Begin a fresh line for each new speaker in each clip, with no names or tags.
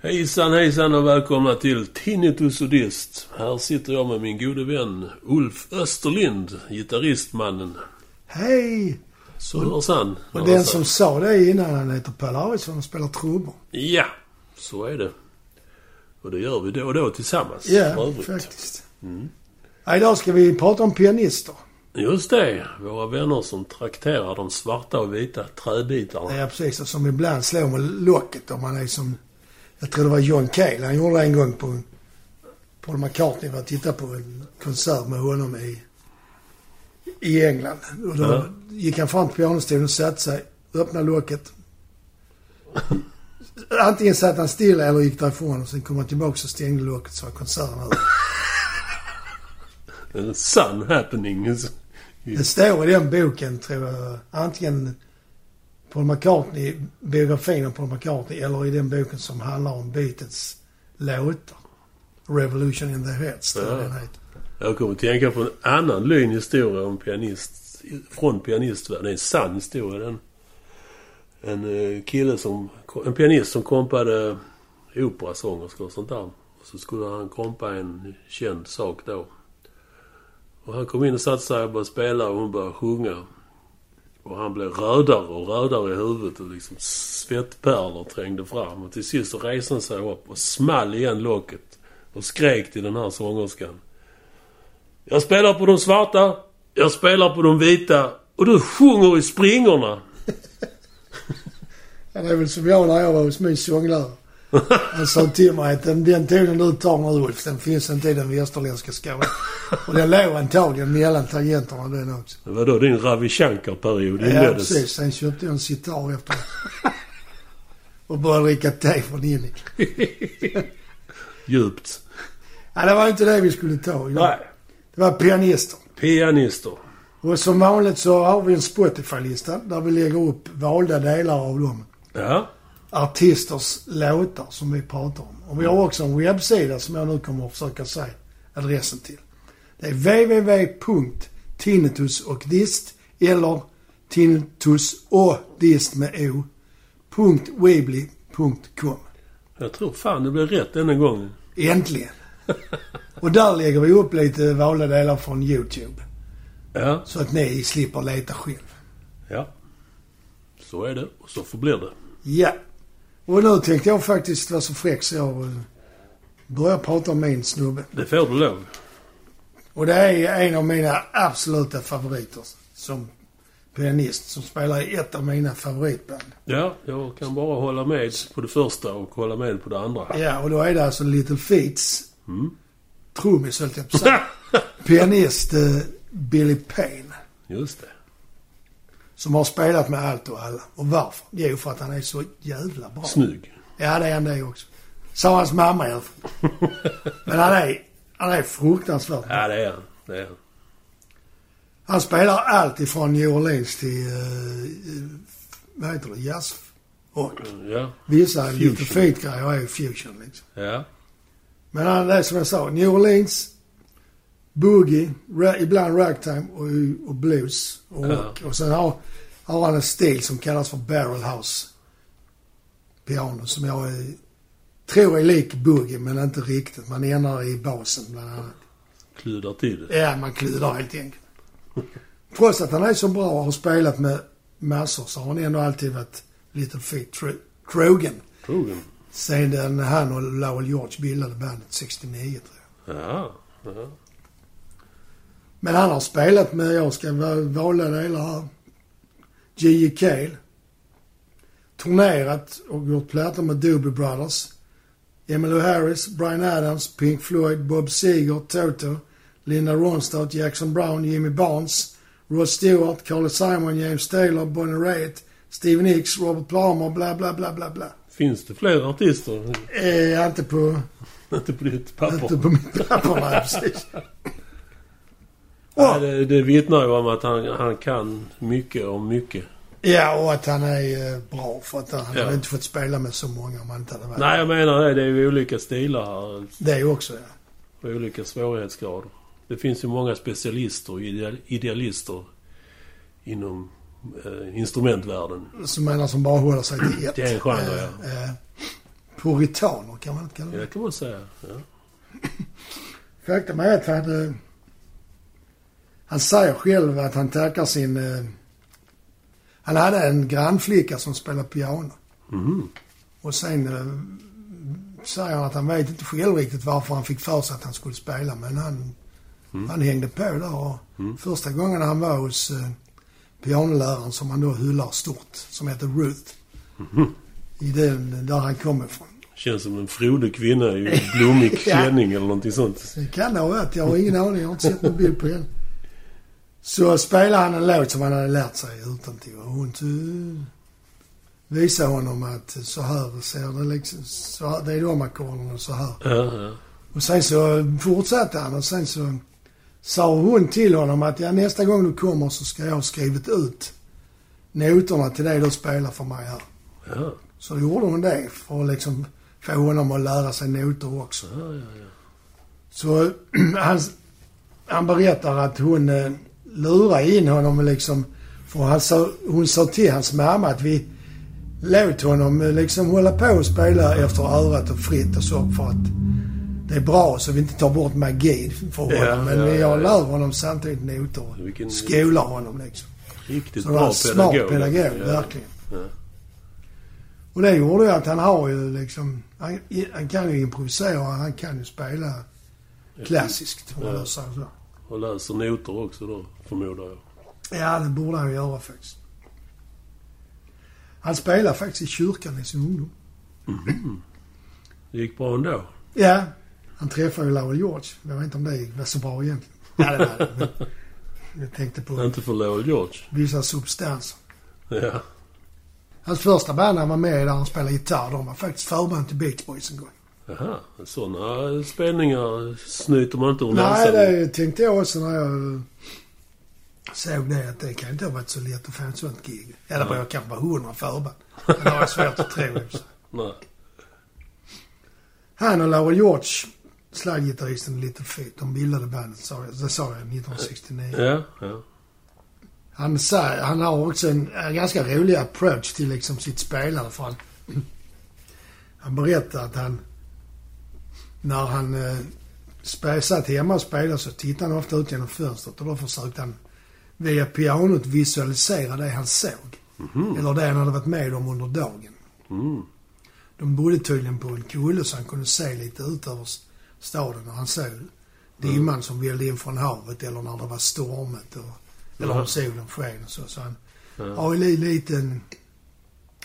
Hejsan hejsan och välkomna till Tinnitus och Dist. Här sitter jag med min gode vän Ulf Österlind, gitarristmannen.
Hej!
Sollersan.
Och den som sa det innan han heter Pelle Arvidsson och spelar trummor.
Ja, så är det. Och det gör vi då och då tillsammans. för
Ja,
övrigt.
faktiskt. Ja, idag ska vi prata om pianister.
Just det, våra vänner som trakterar de svarta och vita träbitarna.
Ja, precis. Och som ibland slår med locket om man är som... Jag tror det var John Cale. Han gjorde det en gång på... Paul McCartney var och tittade på en konsert med honom i... I England. Och då
Ja.
gick han fram till pianostolen, satte sig, öppnade locket. Antingen satt han stilla eller gick därifrån och sen kom han tillbaka och stängde locket så var konserten över.
En sann happening.
Det står i den boken, tror jag, antingen Paul McCartney, biografin om Paul McCartney eller i den boken som handlar om Beatles låtar. Revolution in the Heads, tror jag
Ja.
den heter.
Jag kommer att tänka på en annan lyn historia om pianist, från pianistvärlden. Det är en sann historia. Den, en eh, kille som, en pianist som kompade operasångerskor och sånt där. Och så skulle han kompa en känd sak då. Och han kom in och satte sig och började spela och hon började sjunga. Och han blev rödare och rödare i huvudet och liksom svettpärlor trängde fram. Och till sist så reste han sig upp och small igen locket och skrek till den här sångerskan. Jag spelar på de svarta, jag spelar på de vita och du sjunger i springorna.
Ja, det är väl som jag när jag var hos min sånglärare. Han sa till mig att den, den tonen du tar nu Ulf, den finns inte i den västerländska skalan. Och den låg antagligen mellan tangenterna den också.
Det var då din Ravi Shankar-period
Ja,
inleddes.
precis. Sen köpte jag en sitar efter Och började dricka te från Indica.
Djupt.
Ja, det var inte det vi skulle ta idag.
Nej.
Det var pianister.
Pianister.
Och som vanligt så har vi en Spotify-lista där vi lägger upp valda delar av de
Ja.
artisters låtar som vi pratar om. Och vi har också en webbsida som jag nu kommer att försöka säga adressen till. Det är www.tinnitusochdist eller tinnitusohdist med o. punkt weebly punkt com.
Jag tror fan det blev rätt denna gången.
Äntligen! Och där lägger vi upp lite valda delar från YouTube.
Ja.
Så att ni slipper leta själv.
Ja. Så är det och så förblir det.
Ja. Och nu tänkte jag faktiskt vara så fräck så jag eh, börjar prata om min snubbe.
Det får du lov.
Och det är en av mina absoluta favoriter som pianist. Som spelar i ett av mina favoritband.
Ja, jag kan bara hålla med på det första och hålla med på det andra.
Ja, och då är det alltså Little Feets trummis, höll jag på att säga. Pianist eh, Billy Payne.
Just det.
Som har spelat med allt och alla. Och varför? Jo, för att han är så jävla bra.
Snygg.
Ja, det är han det också. Sa hans mamma i alla fall. Men han är, han är fruktansvärt bra.
Ja, det är han. Det är han.
Han spelar allt ifrån New Orleans till, eh, vad heter det, jazz och
Ja.
vissa lite
Fusion.
fint grejer är ju fusion liksom.
Ja.
Men han är som jag sa, New Orleans, boogie, ra- ibland ragtime och, och blues och
Ja.
rock. Och sen har, har han en stil som kallas för barrel house piano som jag eh, tror är lik boogie men inte riktigt. Man ändrar i basen bland annat.
Kludar till det.
Ja, man kludar helt enkelt. Trots att han är så bra och har spelat med massor så har han ändå alltid varit Little Feet tro- trogen.
Trogen.
Sedan han och Lowell George bildade bandet 69 tror jag.
Ja. ja.
Men han har spelat med, jag ska va- vala delar här, G.J. Cale. Turnerat och gjort plattor med Doobie Brothers. Emmylou Harris, Brian Adams, Pink Floyd, Bob Seger, Toto, Linda Ronstadt, Jackson Brown, Jimmy Barnes, Rod Stewart, Carly Simon, James Taylor, Bonnie Raitt, Steve Nicks, Robert Palmer, bla bla bla bla bla.
Finns det fler artister?
Eh, inte på
Inte på ditt
Inte
papper.
på mitt papper, nej precis.
Nej, det, det vittnar ju om att han, han kan mycket om mycket.
Ja, och att han är eh, bra för att han
Ja.
hade inte fått spela med så många om han inte hade varit.
Nej, jag menar det. Det är ju olika stilar här.
Det är ju också, ja.
Och olika svårighetsgrader. Det finns ju många specialister och ideal, idealister inom eh, instrumentvärlden.
Mm. Som menar som bara håller sig till ett.
Det är en genre,
Eh, eh, Puritaner kan man inte kalla
Ja, det
det.
kan man säga. Ja.
Faktum är att han, eh, han säger själv att han tackar sin... eh, Han hade en grannflicka som spelade piano.
Mhm.
Och sen eh, säger han att han vet inte själv riktigt varför han fick för sig att han skulle spela. Men han, han hängde på där. Och Första gången han var hos eh, pianoläraren som han då hyllar stort, som heter Ruth. I den, där han kommer ifrån.
Känns som en frodig kvinna i en blommig klänning eller någonting sånt.
Det kan det ha varit. Jag har ingen aning. Jag har inte sett någon bild på henne. Så spelade han en låt som han hade lärt sig utantill. Och hon tu- visade honom att så här ser det liksom. Så här, det är de ackorden och så här.
Ja, ja.
Och sen så fortsatte han och sen så sa hon till honom att ja, nästa gång du kommer så ska jag ha skrivit ut noterna till det du spelar för mig här.
Ja,
Så gjorde hon det för att liksom få honom att lära sig noter också.
ja, ja.
Så han, han berättar att hon eh, lurade in honom liksom. För han sa, hon sa till hans mamma att vi låt honom eh, liksom hålla på och spela efter örat och fritt och så för att det är bra så vi inte tar bort magi för honom.
Ja,
Men
ja, ja,
jag
ja.
lär honom samtidigt noter
Vilken-
och skolar honom liksom.
Riktigt
Så det var
bra
en smart pedagog,
Ja.
verkligen.
Ja.
Och det gjorde ju att han har ju liksom... Han, han kan ju improvisera och han kan ju spela klassiskt, om man
Ja.
nu säger så.
Och läser noter också då, förmodar jag.
Ja, det borde han göra faktiskt. Han spelade faktiskt i kyrkan i sin ungdom.
Det gick bra ändå.
Ja, han träffade ju Laurel George. Jag vet inte om det var så bra egentligen. Ja, det var det. men Jag tänkte på
Inte för Lowell George.
vissa substanser.
Ja.
Hans första band han var med i där han spelade gitarr, de var faktiskt förband till Beach Boys en gång.
Jaha. Sådana spänningar snyter man inte ur
Nej,
näsan.
det tänkte jag också när jag såg det. Att det kan inte ha varit så lätt att få ett sånt gig. Eller bara jag kanske var hundra förband. Men det har jag svårt att tro. också.
Nej.
Han och Laurel George, slaggitarristen i Little Feet, de bildade bandet, sa jag- det sa jag, 1969.
Ja, ja.
Han, säger, han har också en, en ganska rolig approach till liksom sitt spelande. För han, han berättar att han... När han eh, spe- satt hemma och spelade så tittade han ofta ut genom fönstret och då försökte han via pianot visualisera det han såg. Eller det han hade varit med om under dagen.
Mm.
De bodde tydligen på en kulle så han kunde se lite ut över s- staden och han såg
Mm.
dimman som vällde in från havet eller när det var stormet. Och, eller om
Mhm.
solen sken och så. Så han
Ja.
har ju li- lite en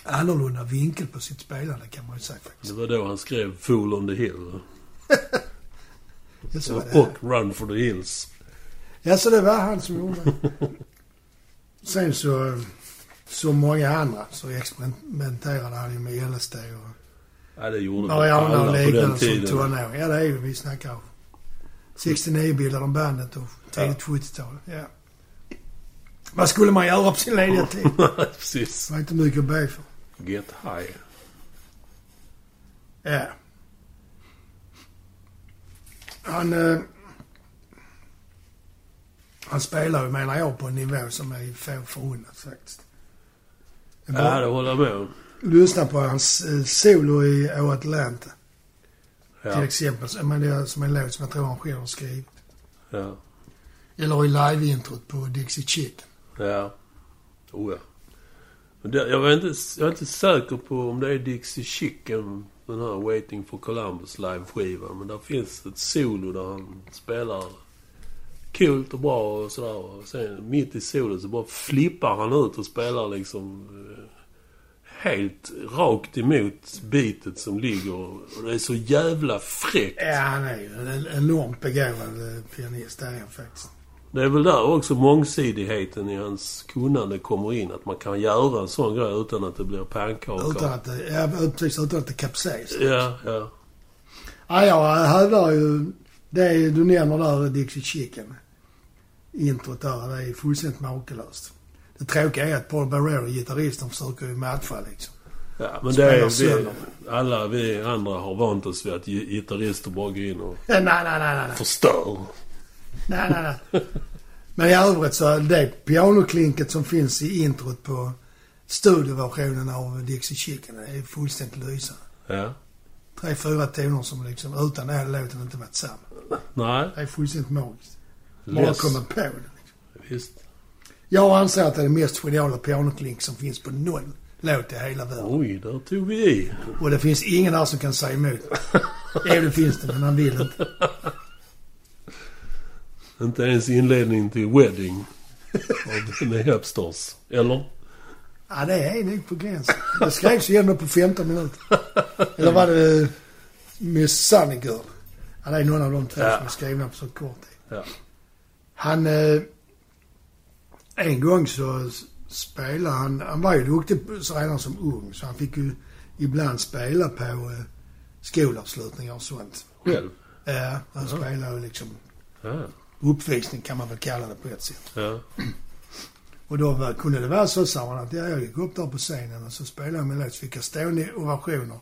annorlunda vinkel på sitt spelande kan man ju säga faktiskt.
Det var då han skrev Fool on the Hill.
Ja, så var det.
Och Run for the Hills.
Ja, så det var han som gjorde det. Sen så, som många andra, så experimenterade han ju med LSD och
Ja, det gjorde väl
Mariana och
alla på den
liknande som
tiden.
tonåring. Ja, det är ju vi snackar om. 69 bildade de bandet och tidigt 70-tal. Ja. Vad skulle man göra på sin lediga tid?
Precis.
Det var inte mycket att be för.
Get high.
Ja. Han... Eh, han spelar ju, menar jag, på en nivå som är få förunnat faktiskt. Det är bara-
Ja, det håller jag med om.
Lyssna på hans eh, solo i O Atlanta. Till
Ja,
exempel. Så- Men det är som en låt som jag tror han själv har skrivit.
ja,
Eller i live-introt på Dixie Chicken.
ja. Oh, ja. Men det, jag, var inte, jag är inte säker på om det är Dixie Chicken, den här Waiting for Columbus live-skivan. Men där finns ett solo där han spelar coolt och bra och sådär. Och sen mitt i solot så bara flippar han ut och spelar liksom eh, helt rakt emot bitet som ligger. Och det är så jävla fräckt.
Ja, han är ju en enormt begåvad eh, pianist, det är han faktiskt.
Det är väl där också mångsidigheten i hans kunnande kommer in. Att man kan göra en sån grej utan att det blir pannkaka.
Utan att, det- ja, precis, utan att det kapsejsar.
Ja, ja.
Ja, jag hävdar ju... Det är, du nämner där Dixie Chicken. Introt där, det är fullständigt makalöst. Det tråkiga är att Paul Barrero, gitarristen, försöker ju matcha liksom.
ja men det
Spelar
är vi,
sönder.
Alla vi andra har vant oss vid att gi- gitarrister bara går in och
Nej, nej, nej, nej, nej.
förstör.
nej, nej, nej. Men i övrigt så, är det pianoklinket som finns i introt på studioversionen av Dixie Chicken det är fullständigt lysande.
Ja.
tre, fyra toner som liksom utan den hade låten inte varit samma.
Nej,
Det är fullständigt magiskt. Bara
Yes.
komma på det. Liksom.
visst.
Jag anser att det är det mest geniala pianoklink som finns på någon låt i hela världen.
Oj, där tog vi i.
Och det finns ingen här som kan säga emot. Jo, det finns det, men han vill inte.
Inte ens inledningen till Wedding av- med Hepstars. Eller?
Ja, det är nog på gränsen. Det skrevs igenom på 15 minuter. Eller var det Miss Sunny Girl? Ja, det är någon av de två
Ja.
som är skrivna på så kort tid.
Ja.
Han... Eh, en gång så s- spelade han... Han var ju duktig på- så redan som ung, så han fick ju ibland spela på eh, skolavslutningar och sånt.
Själv?
Eh, han spelade ju liksom
Ja.
uppvisning kan man väl kalla det på ett sätt.
ja.
Och då var, kunde det vara så, sa man, att jag gick upp där på scenen och så spelade jag min låt, så fick jag stående ovationer.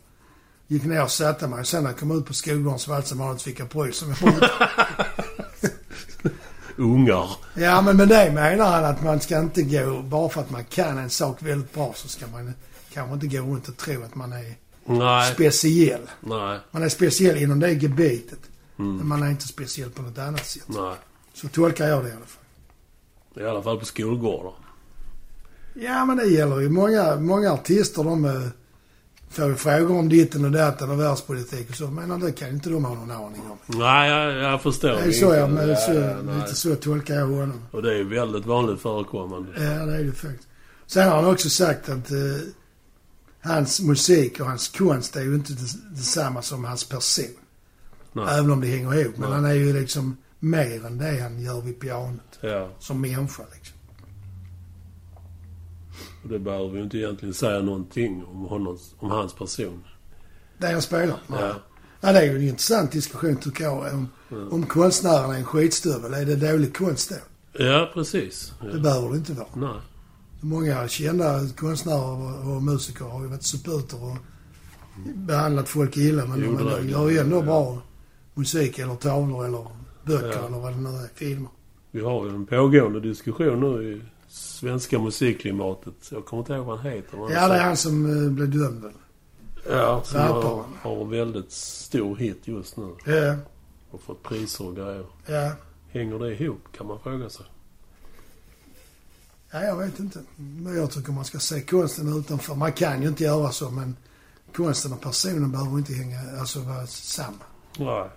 Gick ner och satte mig. Sen när jag kom ut på skolgården så var det som vanligt fick jag pryl som jag
Ungar.
Ja, men med det menar han att man ska inte gå, bara för att man kan en sak väldigt bra så ska man kanske inte gå runt och tro att man är
Nej.
speciell.
Nej.
Man är speciell inom det gebitet.
Mm.
Men man är inte speciell på något annat sätt.
Nej.
Så tolkar jag det i alla fall.
I alla fall på skolgårdar.
Ja, men det gäller ju många, många artister. De eh, får ju frågor om ditten och datten och världspolitik och så. Men det kan inte de ha någon aning om.
Nej, jag, jag förstår.
Det är så jag, men
Ja,
så,
ja, nej.
lite så tolkar jag honom.
Och det är ju väldigt vanligt förekommande.
Ja, det är det faktiskt. Sen har han också sagt att eh, hans musik och hans konst är ju inte des- detsamma som hans person.
Nej.
Även om det hänger ihop. Men
Nej.
han är ju liksom mer än det han gör vid pianot.
Ja.
Som människa liksom.
Och det behöver vi ju inte egentligen säga någonting om, honom, om hans person.
Det han spelar.
Ja.
Ja, det är ju en intressant diskussion tycker jag. Om, om konstnären är en skitstövel, är det dålig konst då?
Ja, precis.
Det
Ja.
behöver det inte vara.
Nej.
Många kända konstnärer och, och musiker har ju varit supporter och behandlat folk illa. Men
Jo, det är
de
det.
gör ju ändå bra musik eller tavlor eller böcker
Ja.
eller vad det nu är, filmer.
Vi har ju en pågående diskussion nu i svenska musikklimatet. Jag kommer inte ihåg vad han heter. men
Ja, det är han som eh, blev dömd väl?
Ja, som har,
Rapparen.
har en väldigt stor hit just nu.
Ja,
Och fått priser och grejer.
ja.
Hänger det ihop kan man fråga sig.
Ja, jag vet inte. Men jag tycker man ska se konsten utanför. Man kan ju inte göra så, men konsten och personen behöver inte hänga, alltså vara samma.
Nej.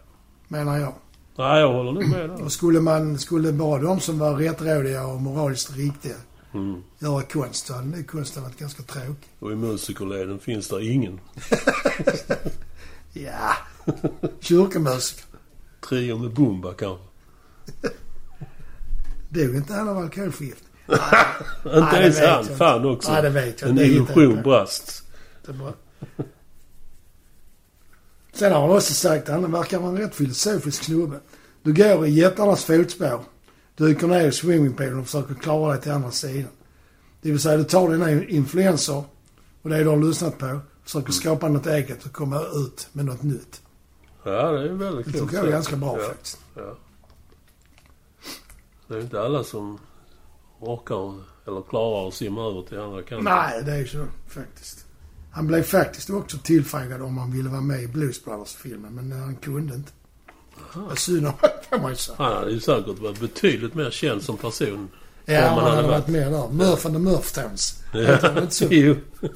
Menar jag.
Nej, jag håller nog med där.
Och skulle man, skulle bara de som var rättrådiga och moraliskt riktiga
Mm.
göra konst, så hade nog konsten varit ganska tråkig.
Och i musikerleden finns där ingen.
Ja, kyrkomusiker.
Trio med Bumba kanske.
Dog inte han av alkoholförgiftning?
Inte
det
ens
vet
han.
jag
Fan
inte.
också.
Nej, det vet jag
en
inte. Det hittar jag
illusion
på.
brast.
Det är bra. Sen har han också sagt, han verkar vara en rätt filosofisk snubbe. Du går i jättarnas fotspår, dyker ner i swimmingpoolen och försöker klara dig till andra sidan. Det vill säga, du tar dina influenser och det du har lyssnat på, försöker skapa något eget och komma ut med något nytt.
Ja, det är väldigt
Det
klokt
tycker jag
sagt.
är ganska bra
ja,
faktiskt.
Ja. Det är inte alla som orkar eller klarar att simma över till andra kanten.
Nej, det är ju så faktiskt. Han blev faktiskt också tillfrågad om han ville vara med i Blues Brothers-filmen, men han kunde inte. Vad synd om honom, får man ju säga.
Han hade ju säkert varit betydligt mer känd som person.
Ja,
om
han hade varit med där. Murph and the Murphtones. Det var inte så. Det
Jo.
är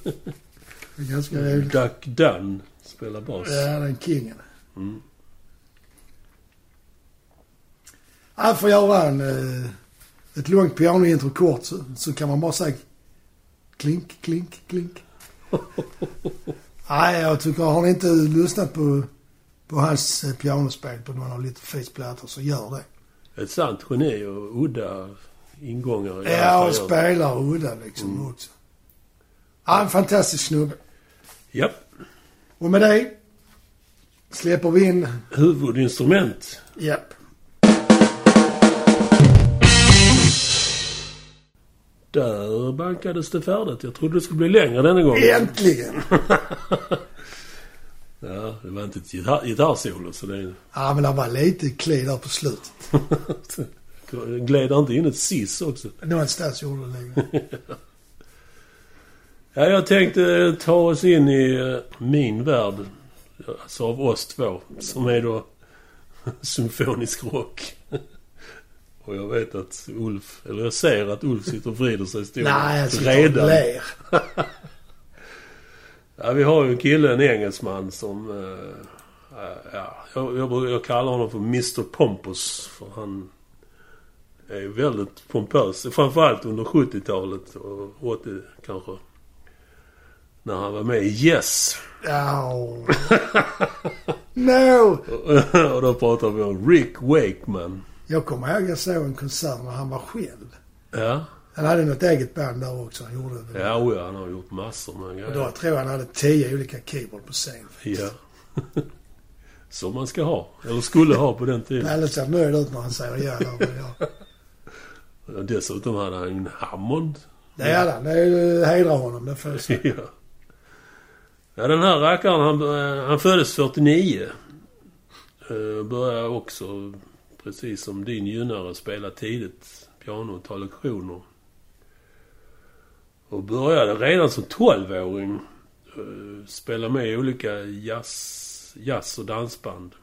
ganska roligt.
Duck Dunn spelar bas.
Ja, den kingen. Han får göra en, eh, ett långt pianointro kort så, så kan man bara säga klink, klink, klink. Nej, jag tycker, har ni inte lyssnat på, på hans eh, pianospel på någon av Little Fates plattor så gör det.
Ett sant geni och udda ingångar. i alla
Ja,
fall.
och spelar udda liksom också. Han är en fantastisk snubbe.
Japp.
Och med det släpper vi in...
Huvudinstrument.
Japp.
Där bankades det färdigt. Jag trodde det skulle bli längre denna gång.
Äntligen!
Ja, det var inte ett gitarr- gitarrsolo så det...
Ja, men det var lite kli där på slutet.
Gled inte in ett sis också?
Någonstans gjorde det det.
Ja, jag tänkte ta oss in i eh, min värld Alltså av oss två, som är då symfonisk rock. Och jag vet att Ulf, eller jag ser att Ulf sitter och vrider sig i stolen.
Nej, jag sitter och ler.
Ja, vi har ju en kille, en engelsman som... eh, eh, ja, jag, jag, brukar- jag kallar honom för Mr Pompous. För han är ju väldigt pompös. Framförallt under 70-talet och 80 kanske. När han var med i Yes.
Oh. no!
och då pratar vi om Rick Wakeman.
Jag kommer ihåg jag såg en konsert när han var själv.
Ja,
Han hade något eget band där också. Han gjorde det.
ja, oh ja han har gjort massor med
Och
grejer.
då tror jag han hade tio olika keyboard på scen.
Ja. Som man ska ha. Eller skulle ha på den tiden.
Pelle ser nöjd ut när han säger ja. där, men ja.
Dessutom hade han ju en Hammond.
Det hade han. Det eh, hedrar honom. Det får jag säga.
ja. ja, den här rackaren han, eh, han föddes 49. Eh, Började också, precis som din gynnare, spela tidigt piano och ta lektioner. Och började redan som 12-åring eh, spela med i olika jazz, jazz och dansband.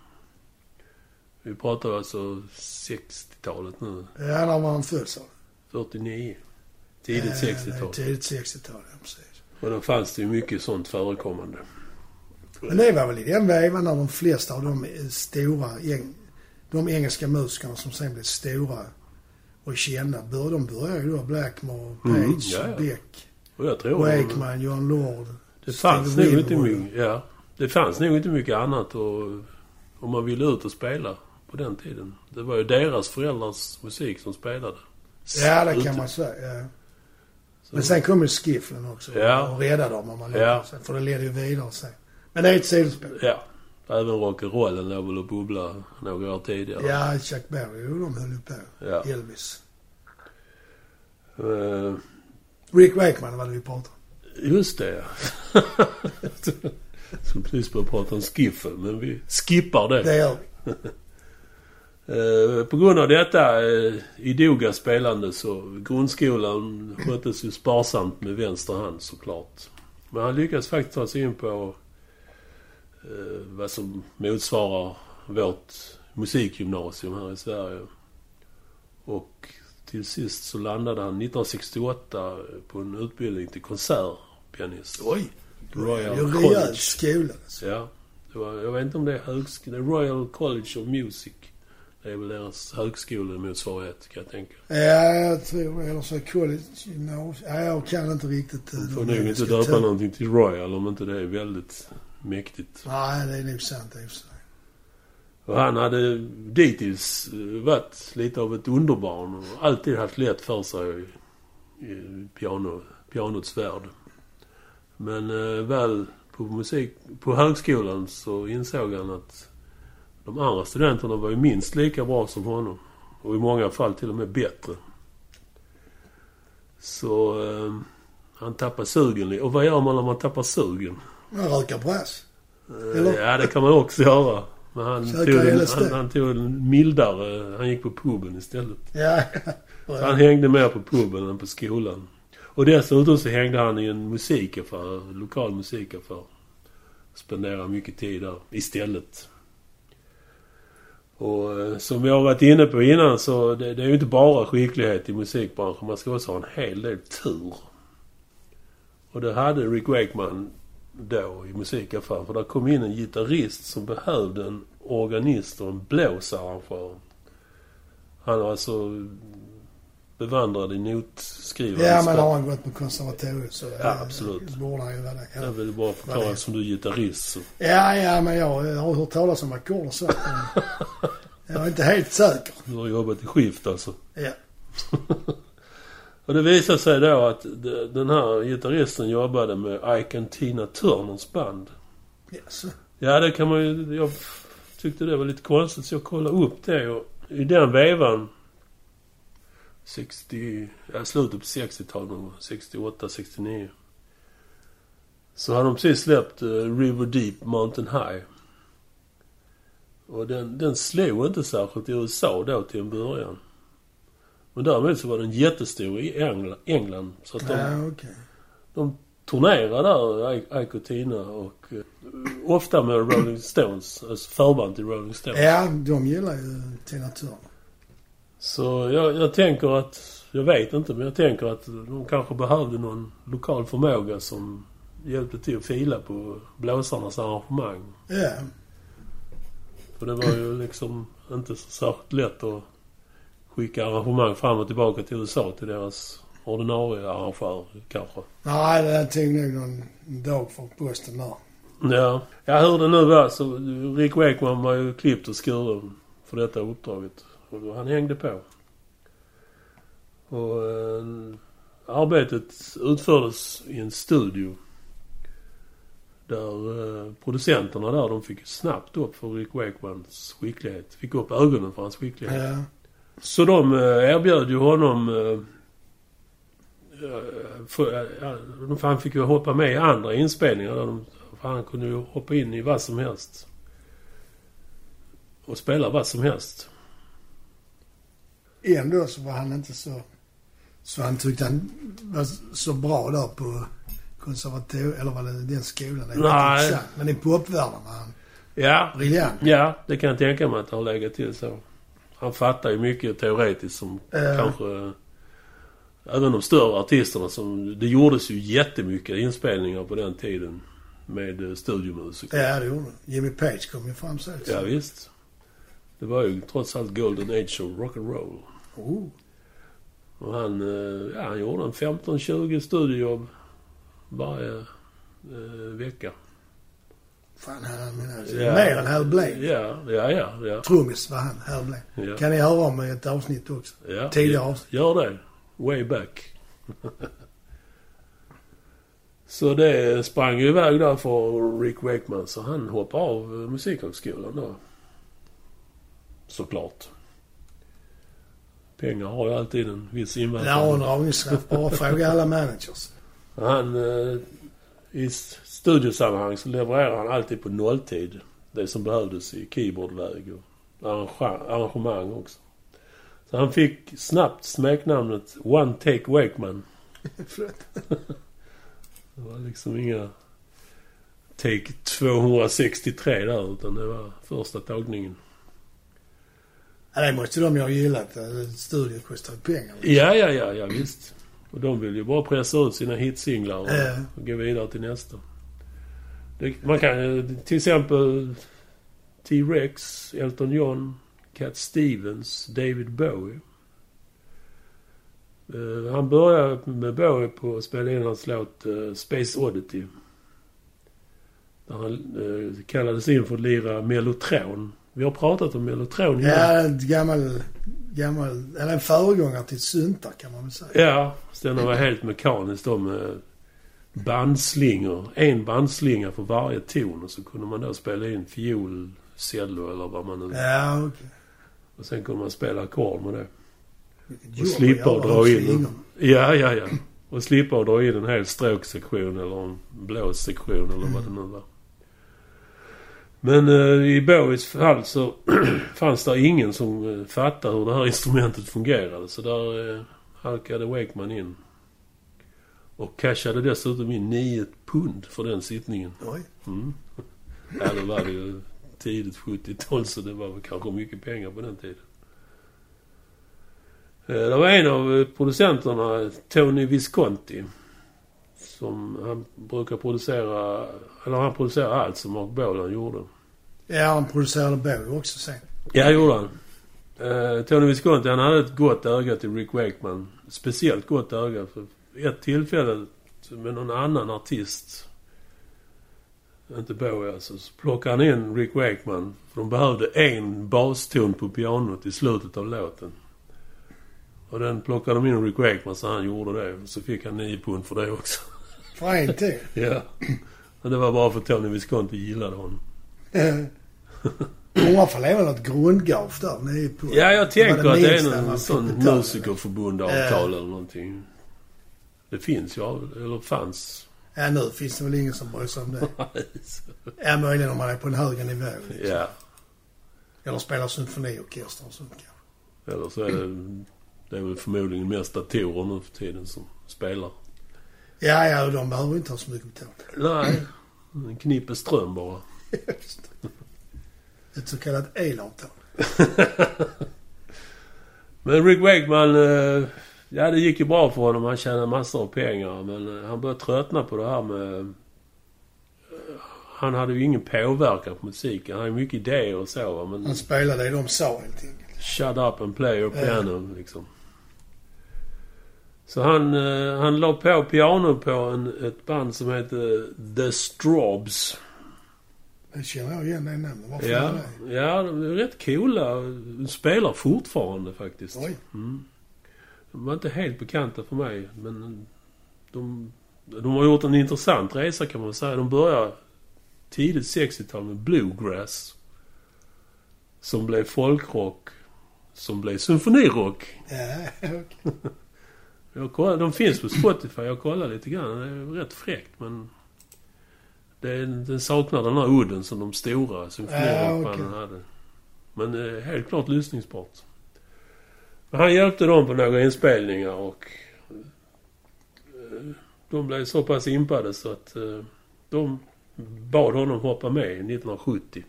Vi pratar alltså 60-talet nu.
Ja, när var han född sa du?
49. Tidigt
Eh,
60-tal.
Tidigt 60-tal, ja precis.
Och då fanns det ju mycket sånt förekommande.
Men det var väl i den vävan när de flesta av de eh, stora, eng- de engelska musikerna som sen blev stora och kända, bör- de började ju då. Blackmore,
Mm,
Page,
ja, ja.
Beck,
Och jag tror...
Wakeman, John Lord.
Det fanns nog
Steve
inte
Winwood.
mycket... Ja. Det fanns nog inte mycket annat och, om man ville ut och spela på den tiden. Det var ju deras föräldrars musik som spelade.
Ja, det
Ute.
kan man säga. Ja.
Så-
Men sen kom ju skifflen också
Ja.
och räddade dem om man
Ja.
ja. sig, För det ledde ju vidare sen. Men det är ett sidospår.
Ja. Även rock'n'rollen låg väl och bubbla några år tidigare.
Ja, Chuck Berry och de höll ju på.
Ja.
Elvis.
Eh,
Rick Wakeman var det vi pratade om.
just det, ja. Jag skulle precis börja prata om skiffen, men vi skippar det.
Det gör vi.
Eh, På grund av detta eh, idoga spelande så grundskolan sköttes ju sparsamt med vänster hand såklart. Men han lyckades faktiskt ta sig in på eh, vad som motsvarar vårt musikgymnasium här i Sverige. Och till sist så landade han 1968 på en utbildning till konsertpianist. Oj! Royal
Det är en
College.
rejäl skola. Alltså.
Ja. Det var, jag vet inte om det är högskolan. Royal College of Music. Det är väl deras högskolemotsvarighet kan jag tänka.
Ja, jag tror Eller så är college gymnasium. Ja, jag kan inte riktigt. eh,
De
de
får nog inte
engelska
döpa
termerna.
någonting till Royal om inte det är väldigt mäktigt.
Nej, det är nog sant i och för sig.
Och han hade dittills eh, varit lite av ett underbarn och alltid haft lätt för sig i- i piano, pianots värld. Men eh, väl på, musik, på högskolan så insåg han att de andra studenterna var ju minst lika bra som honom. Och i många fall till och med bättre. Så eh, han tappade sugen. li- Och vad gör man när man tappar sugen?
Man röker brass.
Eh,
Eller?
Ja, det kan man också göra. Men han
Käka
tog, en,
LSD.
han, han tog en mildare... Han gick på puben istället.
Ja.
Så han hängde mer på puben än på skolan. Och dessutom så hängde han i en musikaffär, lokal musikaffär. Spenderade mycket tid där istället. Och eh, som vi har varit inne på innan så det, det är ju inte bara skicklighet i musikbranschen. Man ska också ha en hel del tur. Och det hade Rick Wakeman då i musikaffären. För där kom in en gitarrist som behövde en organist och en blåsarrangör. Han var alltså bevandrad i notskrivande
Ja, men har han gått på konservatoriet så...
Ja,
eh,
absolut.
Borde han ju vara det.
Jag
Ja.
vill bara förklara
Vad det är.
som du är gitarrist. Så.
ja, ja, men jag har hört talas om ackord och så. men Jag är inte helt säker.
Du har jobbat i skift alltså.
Ja.
Och det visade sig då att de- den här gitarristen jobbade med Ike and Tina Turners band.
Yes.
Ja, det kan man ju... Jag tyckte det var lite konstigt så jag kollade upp det och i den vevan... 60... Ja, slutet på 60-talet någon gång, 68, 69. Så hade de precis släppt eh, River Deep Mountain High. Och den, den slog inte särskilt i USA då till en början. Men däremot så var den jättestor i Engla- England. Så att de
Ja, okej.
de turnera där, I- Ike och Tina. Och, eh, ofta med Rolling Stones, alltså förband till Rolling Stones.
Ja, de gillar ju Tina Turner.
Så jag, jag tänker att, jag vet inte, men jag tänker att de kanske behövde någon lokal förmåga som hjälpte till att fila på blåsarnas arrangemang.
Ja.
För det var ju liksom inte så särskilt lätt att skicka arrangemang fram och tillbaka till USA till deras ordinarie arrangör kanske.
Nej, det där tog nog någon dag för posten där.
Ja. ja, hur det nu var så Rick Wakeman var ju klippt och skuren för detta uppdraget. Och då han hängde på. Och eh, arbetet utfördes i en studio. Där eh, producenterna där, de fick ju snabbt upp för Rick Wakemans skicklighet. Fick upp ögonen för hans skicklighet.
Ja.
Så de eh, erbjöd ju honom... eh, eh, För, eh, de- för han fick ju hoppa med i andra inspelningar. Där de, för han kunde ju hoppa in i vad som helst. Och spela vad som helst.
Ändå så var han inte så... Så han tyckte han var så bra där på konservatoriet, eller var det den skolan? Det var
Nej.
inte exakt, Men i popvärlden var han
Ja,
briljant.
ja det kan jag tänka mig att det har legat till så. Han fattar ju mycket teoretiskt som
Ja.
kanske... eh, Även de större artisterna som... Det gjordes ju jättemycket inspelningar på den tiden. Med eh, studiomusik.
Ja, det gjorde han. Jimmy Page kom ju fram så. också.
Ja, visst. Det var ju trots allt Golden Age of Rock'n'Roll.
Oh.
Och han, eh, ja, han gjorde en 15-20 studiejobb varje eh, vecka.
Fan, han menar,
Ja.
mer än Hal Blaine.
Ja, ja, ja. ja,
Trummis var han, Hal Blaine.
ja,
Kan ni höra om i ett avsnitt också?
ja
Tidigare avsnitt.
Gör det. Way back. så det sprang ju iväg där för Rick Wakeman så han hoppade av eh, Musikhögskolan då. Såklart. Pengar har ju alltid en viss inverkan.
Det har en dragningskraft. Bara fråga alla managers.
Han, eh, I s- studiosammanhang så levererar han alltid på nolltid. Det som behövdes i keyboardväg och arrange- arrangemang också. Så han fick snabbt smeknamnet One Take Wakeman.
Förlåt.
Det var liksom inga Take 263 där utan det var första tagningen.
Ja, det måste de ju ha gillat. Eh, Studion kostar ju pengar.
Ja, ja, ja, ja visst. Och de vill ju bara pressa ut sina hitsinglar och,
Ja.
och gå vidare till nästa. Det, man kan eh, till exempel T-Rex, Elton John, Cat Stevens, David Bowie. Eh, han började med Bowie på att spela in hans låt eh, Space Oddity. Där han eh, kallades in för att lira mellotron. Vi har pratat om mellotron innan.
Ja, en gammal, gammal, eller en föregångare till syntar kan man väl säga.
Ja, så den var helt mekanisk då med bandslingor. En bandslinga för varje ton och så kunde man då spela in fiol, cello eller vad man nu...
Ja, okej.
Och sen kunde man spela ackord med det.
Vilket
Och
jobb
slippa
att göra
dra in
slingor.
dem. Ja, ja, ja. Och slippa att dra in en hel stråksektion eller en blåssektion eller vad det nu var. Men eh, i Bowies fall så fanns det ingen som eh, fattade hur det här instrumentet fungerade. Så där eh, halkade Wakeman in. Och cashade dessutom in 9 pund för den sittningen.
Oj.
Mm. Ja, det var det ju tidigt 70-tal så det var väl kanske mycket pengar på den tiden. Eh, Det var en av eh, producenterna, Tony Visconti, som han brukar producera, eller han producerar allt som Mark Bolan gjorde.
Ja, han producerade Bowie också sen.
Ja, det gjorde han. Eh, Tony Visconti, han hade ett gott öga till Rick Wakeman. Speciellt gott öga. För ett tillfälle med någon annan artist, inte Bowie alltså, så plockade han in Rick Wakeman. För de behövde en baston på pianot i slutet av låten. Och den plockade de in Rick Wakeman så han gjorde det. Så fick han 9 pund för det också.
För en till.
ja. Men det var bara för att Tony Visconti gillade honom.
Eh, Hon får leva något grundgav där nere på.
Ja, jag
Det var
tänker att det
minsta
är
man
någon
fick
sån
betala. Eh.
musikerförbundavtal eller någonting. Det finns ju, eller fanns.
Ja, nu finns det väl ingen som bryr sig om det. Ja, möjligen om man är på en högre nivå.
ja,
Eller spelar symfoniorkester och sånt kanske.
eller så är det... Det är väl förmodligen mest datorer nu för tiden som spelar.
Ja, ja, och de behöver inte ha så mycket betalt.
Nej, en knippe ström bara.
Just det. Ett så kallat elavtal.
Men Rick Wakeman, eh, ja det gick ju bra för honom. Han tjänade massor av pengar. Men eh, han började tröttna på det här med... eh, Han hade ju ingen påverkan på musiken. Han hade mycket idéer och så va. Men
Han spelade det de sa helt enkelt.
shut up and play your
Eh.
piano liksom. Så han, eh, han la på piano på en, ett band som heter The Straubs.
Det känner jag igen det namnet. Varför gör
Ja,
jag det?
ja, de är rätt coola. Spelar fortfarande faktiskt.
Oj.
Mm. De var inte helt bekanta för mig, men de, de har gjort en intressant resa kan man säga. De började tidigt 60-tal med bluegrass. Som blev folkrock. Som blev symfonirock.
Ja, okej.
Jag kollar, de finns på Spotify. Jag kollar lite grann. Det är rätt fräckt, men... Det är, den saknar den här udden som de stora symfonirockbanden
Ja, okej.
hade. Men eh, helt klart lyssningsbart. Men han hjälpte dem på några inspelningar och... eh, De blev så pass impade så att eh, de bad honom hoppa med 1970.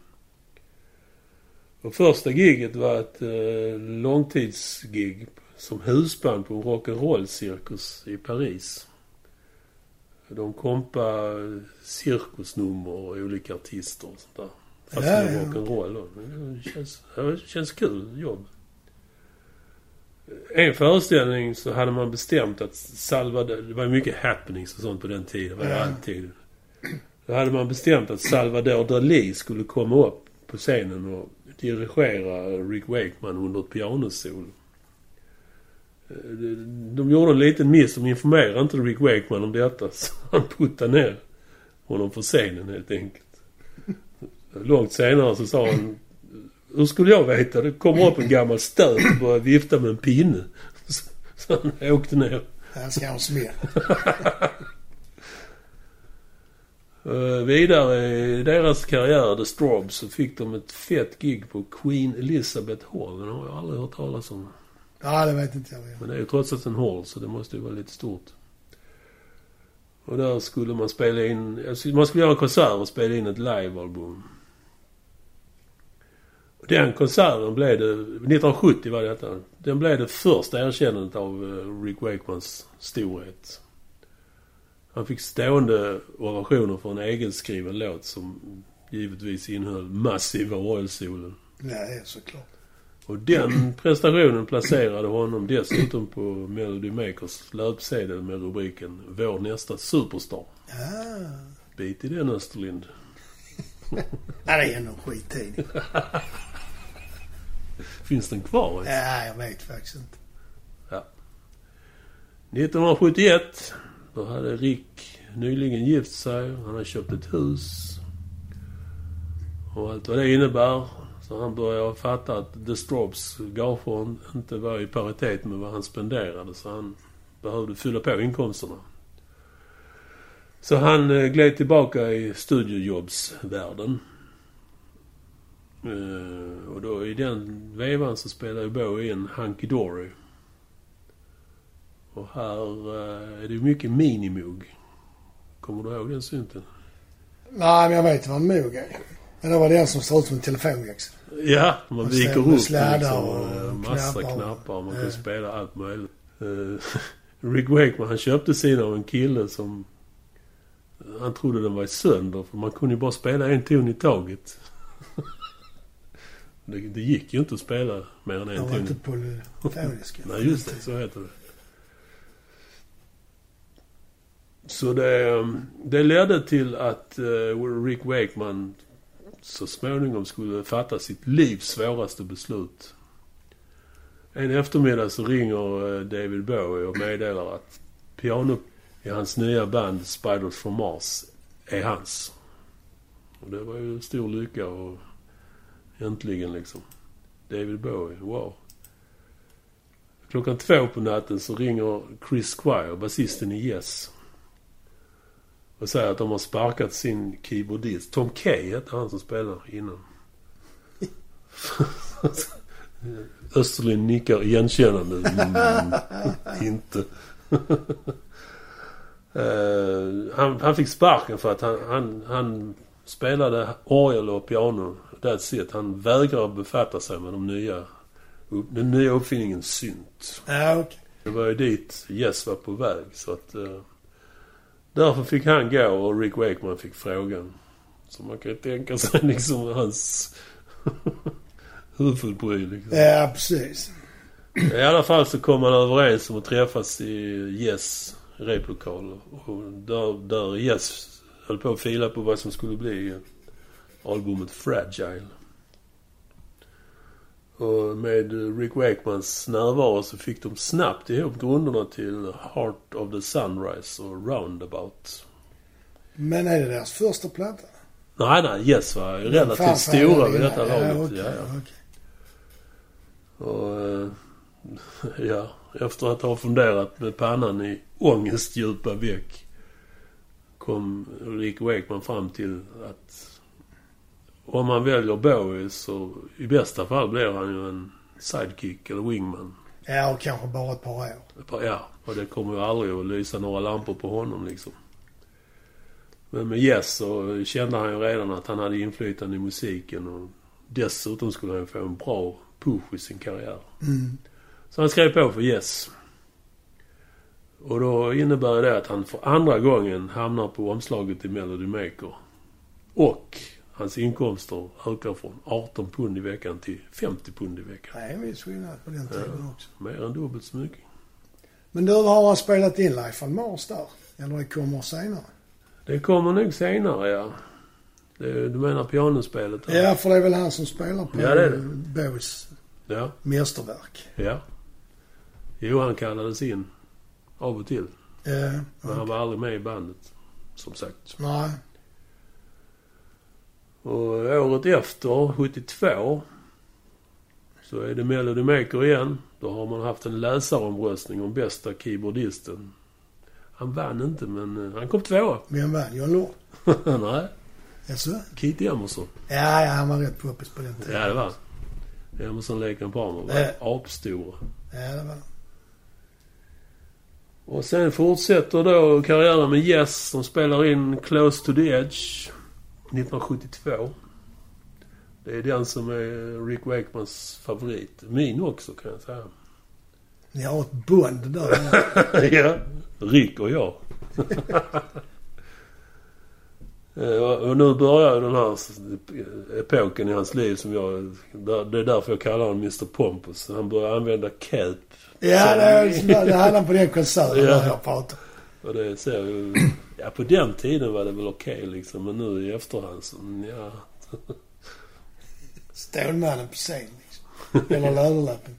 Och första giget var ett eh, långtidsgig som husband på en rock'n'roll-cirkus i Paris. De kompa cirkusnummer och olika artister och sånt där. Fast
Ja,
med
ja,
rock'n'roll då. Det känns, det känns kul jobb. En föreställning så hade man bestämt att Salvador... Det var mycket happenings och sånt på den tiden. Det var det
Ja.
alltid. Då hade man bestämt att Salvador Dalí skulle komma upp på scenen och dirigera Rick Wakeman under ett pianosol. Eh, De gjorde en liten miss. De informerade inte Rick Wakeman om detta. Så han puttade ner honom på scenen helt enkelt. Långt senare så sa han... Hur skulle jag veta? Det kommer upp en gammal stöt och börjar vifta med en pinne. Så- Så han åkte ner.
Han ska ha en smäll.
Eh, vidare i deras karriär, The Straubs, så fick de ett fett gig på Queen Elizabeth Hall. Den har jag aldrig hört talas om.
Ja, det vet inte jag. igen.
Men det är ju trots allt en hall, så det måste ju vara lite stort. Och där skulle man spela in... alltså, Man skulle göra en konsert och spela in ett livealbum. Och Den konserten blev det... 1970 var detta. Den blev det första erkännandet av eh, Rick Wakemans storhet. Han fick stående ovationer för en egenskriven låt som givetvis innehöll massiva orgelsolon.
Nej, såklart.
Och den prestationen placerade honom dessutom på Melody Makers löpsedel med rubriken Vår nästa superstar.
Ja.
Bit i den Österlind.
Ja, det är ändå en skittidning.
Finns den kvar? ens?
Ja, jag vet faktiskt inte.
1971. Då hade Rick nyligen gift sig. Han hade köpt ett hus. Och allt vad det innebär. Så han började fatta att The Straubs gage inte var i paritet med vad han spenderade. Så han behövde fylla på inkomsterna. Så han eh, gled tillbaka i studiojobbsvärlden. Eh, och då i den vevan så spelade ju Bowie in Hunky Dory. Och här eh, är det ju mycket minimog. Kommer du ihåg den synten?
Nej, men jag vet vad en mog är. Men det var den som såg ut som en telefonväxel.
Ja, man
Och
viker
sen
upp
med sladdar
och
och
eh, massa
knappar.
knappar. Man
Ja.
kan spela allt möjligt. Eh, Rick Wakeman, han köpte sin av en kille som... eh, Han trodde den var sönder, för man kunde ju bara spela en ton i taget. det, det gick ju inte att spela mer än en
Den
ton.
var
i
inte polyfonisk.
Nej, just det. Så heter det. Så det, ehm, det ledde till att eh, Rick Wakeman så småningom skulle fatta sitt livs svåraste beslut. En eftermiddag så ringer eh, David Bowie och meddelar att piano i hans nya band Spiders from Mars är hans. Och det var ju stor lycka och äntligen liksom. David Bowie, wow. Klockan två på natten så ringer Chris Squire, basisten i Yes. Och säger att de har sparkat sin keyboardist. Tom Kay hette han som spelade innan. Österlind nickar igenkännande. Mm, inte. Eh, han, han fick sparken för att han, han, han spelade orgel och piano. That's it. Han vägrar befatta sig med de nya, upp- den nya uppfinningen synt.
Ja, okej.
Det var ju dit Yes var på väg. Så att, eh, därför fick han gå och Rick Wakeman fick frågan. Så man kan ju tänka sig liksom hans huvudbry. Liksom.
Ja, precis.
I alla fall så kom man överens om att träffas i Yes replokal. Och där, där Yes höll på att fila på vad som skulle bli albumet Fragile. Och med Rick Wakemans närvaro så fick de snabbt ihop grunderna till Heart of the Sunrise och Roundabout.
Men är det deras första platta?
Nej, nej, Yes var ju relativt
Fan, fan,
stora
jag
vid
menar,
detta
ja,
laget.
okej,
Ja, ja.
okej.
Och, eh, ja, efter att ha funderat med pannan i ångestdjupa veck kom Rick Wakeman fram till att om man väljer Bowie så i bästa fall blir han ju en sidekick eller wingman.
Ja, och kanske bara ett par år.
Ja, och det kommer ju aldrig att lysa några lampor på honom liksom. Men med Yes så kände han ju redan att han hade inflytande i musiken och dessutom skulle han få en bra push i sin karriär.
Mm.
Så han skrev på för Yes. Och då innebär det att han för andra gången hamnar på omslaget i Melody Maker. Och hans inkomster ökar från 18 pund i veckan till 50 pund i veckan.
Det är en viss skillnad på den tiden också.
Mer än dubbelt så mycket.
Men nu har han spelat in Life on Mars där? Eller det kommer senare?
Det kommer nog senare, ja. Det, du menar pianospelet?
Ja.
där?
för det är väl han som spelar på
Ja, det är det.
Bowies
ja.
mästerverk.
Ja. Jo, han kallades in av och till.
Ja,
Men han var aldrig med i bandet, som sagt.
nej.
Och året efter, 72, så är det Melody Maker igen. Då har man haft en läsaromröstning om bästa keyboardisten. Han vann inte, men eh, han kom tvåa.
Vem vann? John Lord?
Nej,
Jaså?
Keith Emerson.
Ja, ja, han var rätt poppis på den tiden.
Ja, det var han. Emerson Lake and Palmer
Ja.
var apstora.
Ja, det var han.
Och sen fortsätter då karriären med Yes. De spelar in Close to the Edge 1972. Det är den som är Rick Wakemans favorit. Min också kan jag säga.
Ni har ett bond där.
ja, Rick och jag. Eh, och- och nu börjar ju den här s- epoken i hans liv som jag... där- Det är därför jag kallar honom Mr Pompous. Han börjar använda cape.
ja, det, är, liksom- det hade han på den konserten där jag pratade.
Och det ser ju... Ja, på den tiden var det väl okej liksom. Men nu i efterhand så... Ja.
Stålmannen på scen liksom. Eller Läderlappen.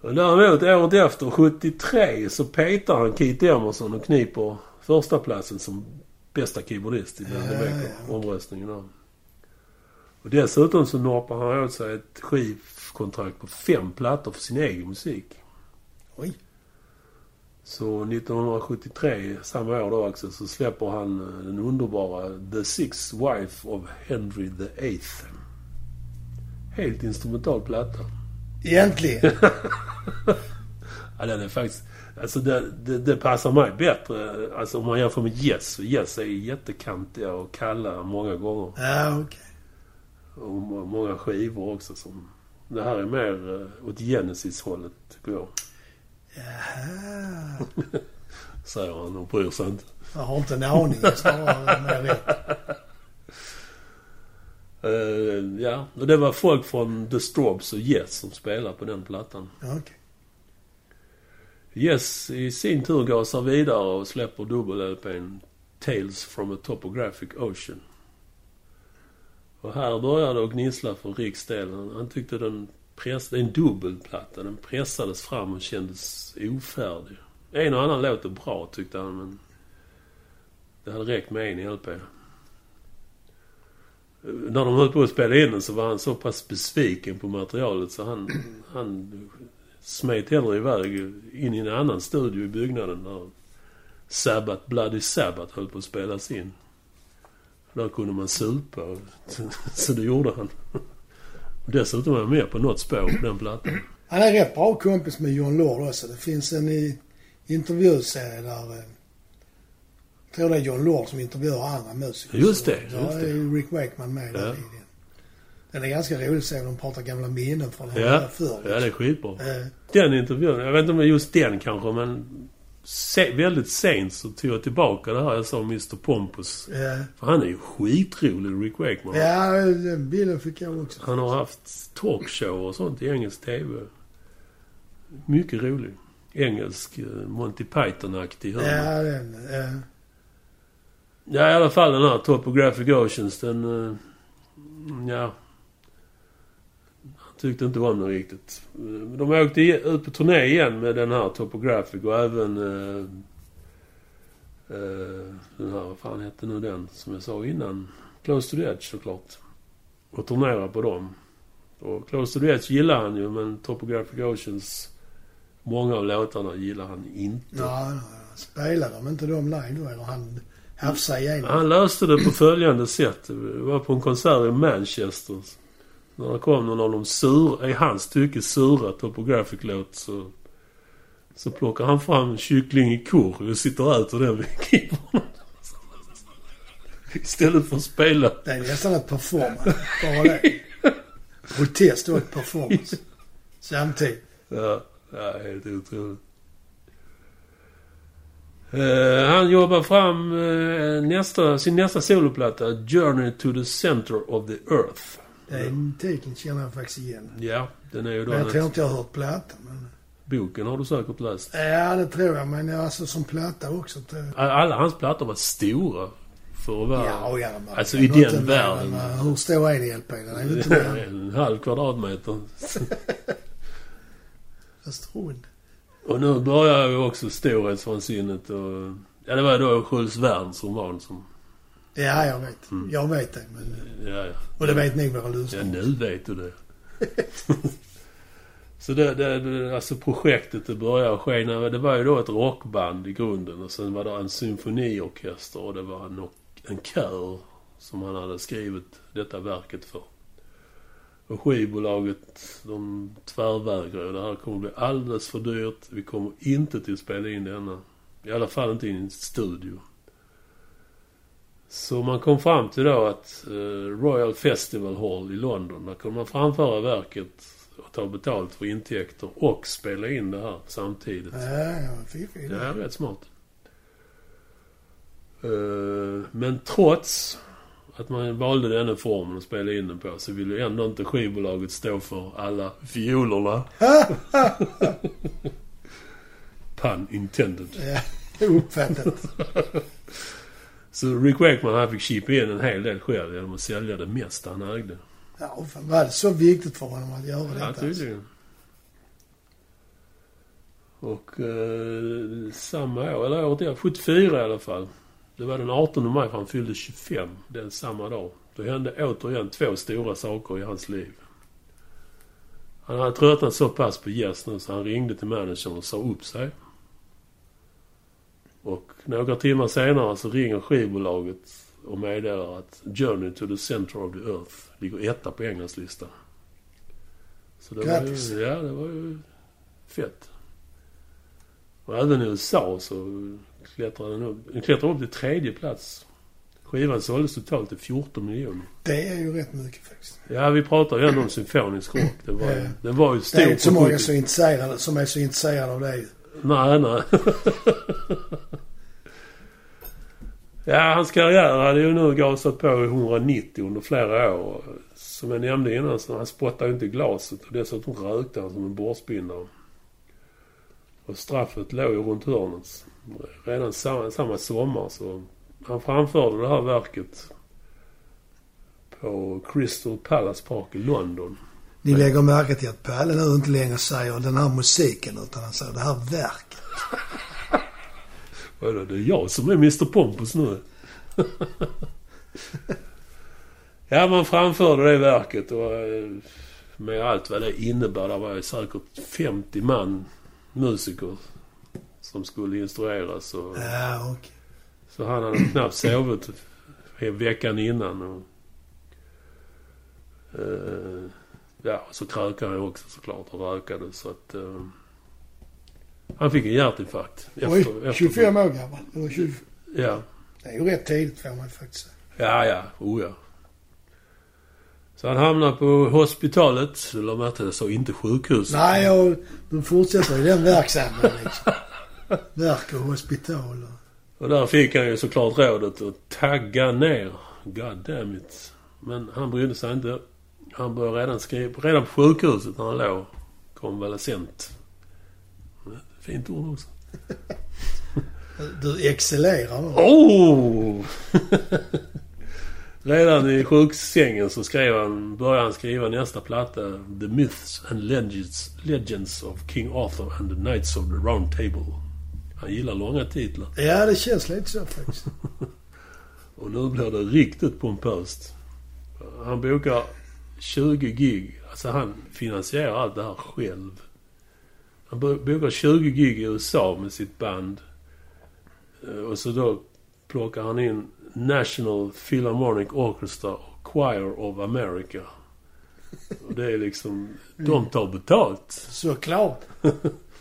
Och däremot året efter, 73, så petar han Keith Emerson och kniper första platsen som bästa keyboardist i den
Ja,
här
ja.
omröstningen där. Och dessutom så norpar han åt sig ett skivkontrakt på fem plattor för sin egen musik.
Oj.
Så 1973, samma år då också, så släpper han eh, den underbara The Sixth Wife of Henry the Eighth. Helt instrumental platta.
Egentligen.
Ja, den är faktiskt... Alltså det, det, det passar mig bättre. Alltså om man jämför med Yes. för Yes är ju jättekantiga och kalla många gånger.
Ja, okej.
Och må- många skivor också som... Det här är mer eh, åt Genesis-hållet, tycker jag.
Jaha.
Säger han och bryr sig inte.
Jag har inte en aning. Jag snarare än jag vet.
Eh, ja, och det var folk från The Strobes och Yes som spelade på den plattan.
Ja, Okej.
Yes i sin tur gasar vidare och släpper dubbel-LPn Tales from a Topographic Ocean. Och här börjar det att gnissla för Ricks del. Han- Han tyckte den press, det är en dubbelplatta. Den pressades fram och kändes ofärdig. En och annan låter bra tyckte han, men det hade räckt med en LP. Eh, När de höll på att spela in den så var han så pass besviken på materialet så han, han smet hellre iväg in i en annan studio i byggnaden där Sabbath, Bloody Sabbath höll på att spelas in. Där kunde man supa, och- så det gjorde han. Dessutom var han med på något spår på den plattan.
Han är rätt bra kompis med John Lord också. Det finns en i intervjuserie där eh, Jag tror det är John Lord som intervjuar andra musiker.
Just det,
Så
just
Där är
det.
ju Rick Wakeman med
Ja.
i den. Den är ganska rolig att se. De pratar gamla minnen från när de
Ja,
var förr.
ja det är liksom. skitbra.
Eh,
Den intervjun, jag vet inte om det är just den kanske, men se, väldigt sent så tog jag tillbaka det här jag sa om Mr Pompus.
eh,
För han är ju skitrolig, Rick Wakeman.
ja, den bilden fick jag också.
Han har haft talkshow och sånt i engelsk TV. Mycket rolig. Engelsk eh, Monty Python-aktig hörna.
Ja, den. Eh,
Ja, i alla fall den här Topographic Oceans, den... eh, Ja... Han tyckte inte om den riktigt. Eh, De åkte i- ut på turné igen med den här Topographic och även... eh, eh, den här, vad fan hette nu den som jag sa innan? Close to the Edge såklart. Och turnera på dem. Och Close to the Edge gillar han ju men Topographic Oceans... Många av låtarna gillar han inte.
ja, ja. spelade de inte de live då? Eller han hafsade igenom?
Han löste det på följande sätt. Det var på en konsert i Manchester. När det kom någon av de sura, i hans tycke sura Topographic-låt så, så plockar han fram kyckling i korv och sitter och äter den vid keyboarden. Istället för att spela.
Det är nästan ett performance. Bara det. Protest och ett performance. Samtidigt.
Ja, ja helt otroligt. Eh, han jobbar fram eh, nästa, sin nästa soloplatta, Journey to the Center of the Earth.
Den titeln känner jag faktiskt igen.
Ja, den är ju då...
Men jag
en-
tror inte jag har hört plattan. Men...
Boken har du säkert läst.
Ja, det tror jag. Men jag- alltså som platta också. Det...
Alla hans plattor var stora för att vara...
Ja, och ja, men-
Alltså, i
men
den
inte mer
världen.
än, eh, Hur stor är en LP? Den är ju inte mer än
en halv kvadratmeter.
en strund.
Och nu börjar ju också storhetsvansinnet och... Ja, det var ju då Jules Verne som var den som...
Ja, jag vet.
Mm.
Jag vet det. Men...
Ja, ja.
Och det vet ni våra lyssnare.
ja nu vet du det. Så det, det, det, alltså projektet det börjar skena. Det var ju då ett rockband i grunden och sen var det en symfoniorkester och det var en, en kör som han hade skrivit detta verket för. Och skivbolaget, de tvärvägrade. Det här kommer bli alldeles för dyrt. Vi kommer inte till att spela in denna. I alla fall inte in i en studio. Så man kom fram till då att eh, Royal Festival Hall i London, där kunde man framföra verket och ta betalt för intäkter och spela in det här samtidigt.
Ja, ja, fiffig.
Det här är rätt smart. Eh, Men trots att man valde denna formen att spela in den på så ville ju ändå inte skivbolaget stå för alla fiolerna. Pun intended.
Ja, uppfattat.
Så Rick Wakeman han fick chippa in en hel del själv genom att sälja det mesta han ägde.
Ja, fan, var det så viktigt för honom att göra detta?
Ja,
alltså?
tydligen. Och eh, samma år, eller året efter, 74 i alla fall. Det var den 18 maj för han fyllde 25 den samma dag. Då hände återigen två stora saker i hans liv. Han hade tröttnat så pass på Yes nu så han ringde till managern och sa upp sig. Och några timmar senare så ringer skivbolaget och meddelar att Journey to the Center of the Earth ligger etta på Englandslistan. Så det var
Grattis.
ju, ja, det var ju fett. Och även i USA så klättrade den upp, den klättrade upp till tredje plats. Skivan såldes totalt till 14 miljoner.
Det är ju rätt mycket faktiskt.
Ja, vi pratar ju ändå om symfonisk rock. Det var,
Ja.
ju- det var ju
Det
stort.
är inte så
på
många
70-talet.
som är intresserade, som är så intresserade av det.
Nej, nej. ja, hans karriär hade ju nu gasat på i 190 under flera år. Som jag nämnde innan så han spottade ju inte i glaset och dessutom rökte han som en borstbindare. Och straffet låg ju runt hörnet. Redan samma, samma sommar så han framförde det här verket på Crystal Palace Park i London.
Ni lägger märke till att Palle nu inte längre säger den här musiken utan han säger det här verket.
Vadå, det är jag som är Mr Pompus nu? ja, man framförde det verket och eh, med allt vad det innebär. Det var ju säkert 50 man musiker som skulle instrueras. Och,
Ja, okej.
så han hade knappt sovit he- veckan innan. Och, eh, ja, och så krökade han också såklart och rökade. Så att, eh, han fick en hjärtinfarkt.
Oj, 25 år gammal. Eller 20.
Ja,
Det är ju rätt tidigt får man faktiskt säga.
Ja, ja. Oh, ja. Så han hamnade på hospitalet. Eller vad hette det? Så inte sjukhus.
Nej, jag, du fortsätter i den verksamheten liksom. Verk och hospital och...
Och där fick han ju såklart rådet att tagga ner. God damn it. Men han brydde sig inte. Han började redan skriva... Redan på sjukhuset när han låg konvalescent. Fint ord också.
Du excellerar nu.
Oh! Redan i sjuksängen så skrev han, började han skriva nästa platta, The Myths and Legends, Legends of King Arthur and the Knights of the Round Table. Han gillar långa titlar.
Ja, det känns lite så faktiskt.
Och nu blir det riktigt pompöst. Han bokar 20 gig. Alltså han finansierar allt det här själv. Han bo- bokar 20 gig i USA med sitt band. Eh, Och så då plockar han in National Philharmonic Orchestra och Choir of America. Och det är liksom... De tar betalt.
Såklart.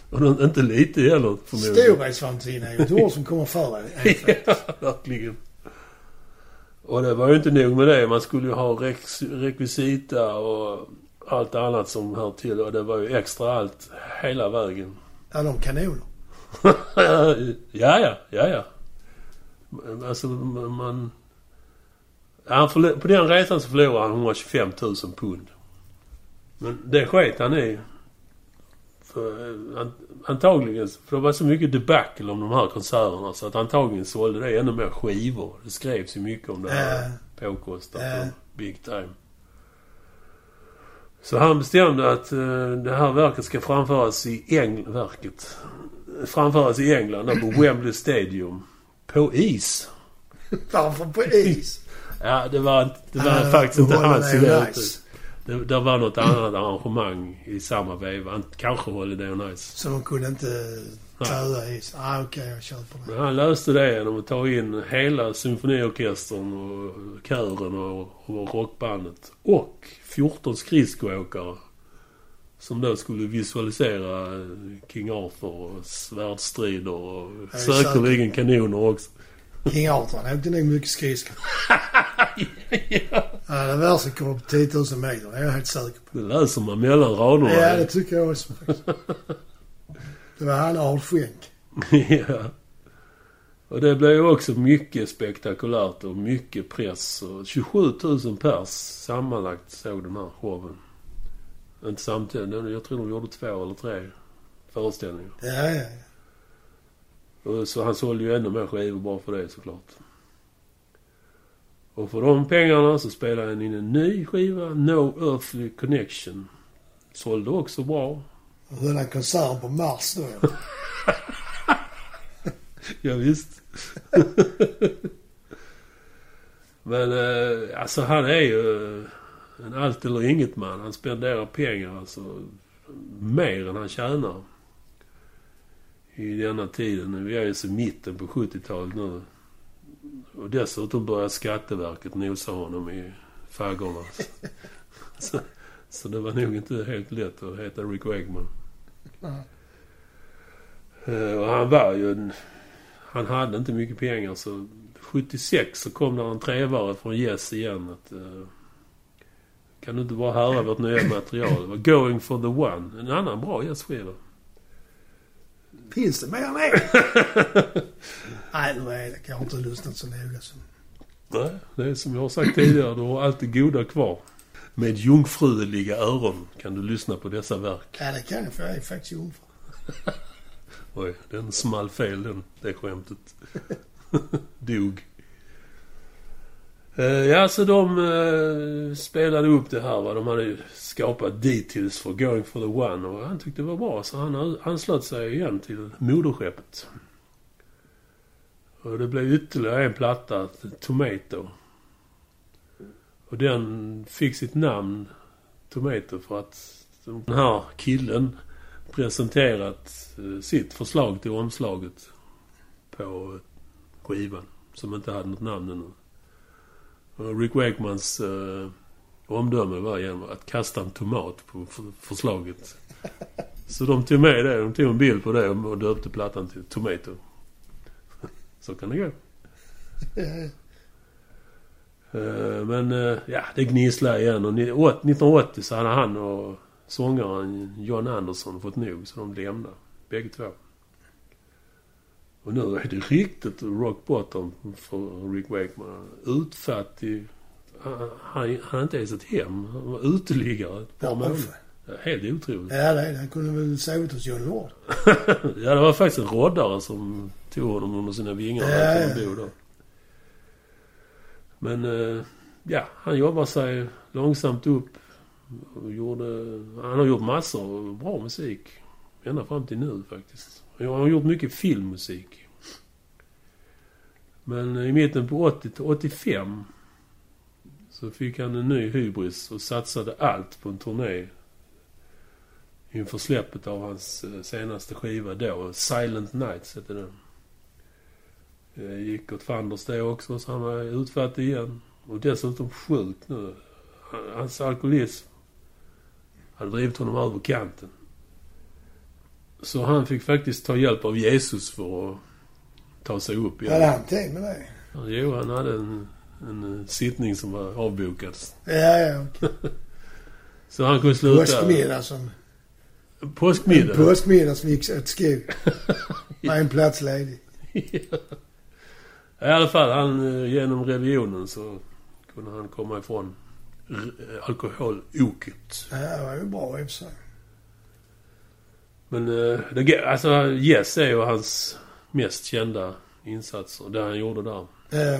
Och de, inte lite heller förmodligen.
Storhetsvansinne är ju ett ord som kommer före en.
ja, verkligen. Och det var ju inte nog med det. Man skulle ju ha rex, rekvisita och allt annat som hör till. Och det var ju extra allt hela vägen.
Ja, de kanoner.
ja, ja, ja, ja. Alltså, man... Han förlo- på den resan så förlorade han 125 000 pund. Men det sket han i. För, eh, an, antagligen, för det var så mycket debacle om de här konserterna så att antagligen sålde det ännu mer skivor. Det skrevs ju mycket om det här
Äh.
påkostat
Äh.
och big time. Så han bestämde att eh, det här verket ska framföras i England. Verket. Framföras i England, där på Wembley Stadium. På is.
Varför på is?
Ja, det var, det var
Ah,
faktiskt inte
Holland
hans
är ju
idé.
nice.
Det, det var något annat arrangemang i samma veva. Kanske Holiday on Ice.
Så de kunde inte töa is. Ah, okej, jag köper det.
Men han löste det genom att ta in hela symfoniorkestern och kören och, och rockbandet. Och 14 skridskoåkare. Som då skulle visualisera eh, King Arthur och svärdstrider och
Ja,
säkerligen kanoner också.
King Arthur, han åkte nog mycket skridskor. ja, det värsta kommer på 10 000 meter, det är jag helt säker på.
Det läser man mellan raderna.
Ja, det tycker jag också faktiskt. Det var han och Arl Schenk.
ja. Och det blev ju också mycket spektakulärt och mycket press. Och 27 000 pers sammanlagt såg den här showen. Inte samtidigt. Jag tror de gjorde två eller tre föreställningar.
Ja, ja, ja.
Och Så han sålde ju ännu mer skivor bara för det såklart. Och för de pengarna så spelade han in en ny skiva, No Earthly Connection. Sålde också bra.
Och höll en konsert på Mars då. ja.
Ja, visst. Men eh, alltså han är ju en allt eller inget man. Han spenderar pengar alltså mer än han tjänar. I denna tiden. Vi är ju så mitten på 70-talet nu. Och dessutom börjar Skatteverket nosa honom i faggorna. så, så det var nog inte helt lätt att heta Rick Wakeman.
Nej.
Eh, Och han var ju en han hade inte mycket pengar så 76 så kom där en trevare från Yes igen att eh, Kan du inte bara höra vårt nya material? Det var Going for the one. En annan bra Yes-skiva.
Finns det mer än en? Nej, nu är det. Jag har inte lyssnat så noga. Så.
Nej, det är som jag har sagt tidigare, du har allt det goda kvar. Med jungfruliga öron kan du lyssna på dessa verk.
Ja, det kan jag för jag är faktiskt jungfru.
Oj, den small fel den, det skämtet. Dog. Eh, ja, så de eh, spelade upp det här, vad de hade ju skapat details för Going for the One. Och han tyckte det var bra, så han anslöt sig igen till moderskeppet. Och det blev ytterligare en platta, Tomato. Och den fick sitt namn, Tomato, för att den här killen presenterat eh, sitt förslag till omslaget på eh, skivan som inte hade något namn ännu. Och Rick Wakemans eh, omdöme var genom att kasta en tomat på f- förslaget. Så de tog med det. De tog en bild på det och döpte plattan till Tomato. Så kan det gå. Eh, Men eh, ja, det gnisslar igen. Och ni- åt- 1980 så hade han och sångaren John Anderson fått nog, så de lämnade. Bägge två. Och nu är det riktigt rock bottom för Rick Wakeman. Utfattig. Han- Han han hade inte ens ett hem. Han var uteliggare ett par
Ja,
månader.
varför?
Helt otroligt.
Ja, det är det. Han kunde väl sovit hos Johnny Ward.
Ja, det var faktiskt en roddare som tog honom under sina vingar och
Ja,
lät
ja.
honom bo där. Men eh, ja, han jobbar sig långsamt upp. Och gjorde, han har gjort massor bra musik. Ända fram till nu faktiskt. Han har gjort mycket filmmusik. Men i mitten på 80 till 85 så fick han en ny hybris och satsade allt på en turné inför släppet av hans eh, senaste skiva då, Silent Nights hette den. Det gick åt fanders det också, så han var utfattig igen. Och dessutom sjuk nu. Han- Hans alkoholism hade drivit honom över kanten. Så han fick faktiskt ta hjälp av Jesus för att ta sig upp igen.
Hade han tänkt med det?
Jo, han hade en, en eh, sittning som var avbokad.
Ja, ja. okej.
Så han kunde sluta...
Påskmiddag som...
Påskmiddag.
Påskmiddag som gick åt skog. Med en plats ledig.
I alla fall, han, eh, genom religionen så kunde han komma ifrån r- eh, alkoholoket.
Ja, det var ju bra i och för sig.
Men eh, det, ge- alltså, Yes är ju hans mest kända insatser, det han gjorde där.
Ja. Jo,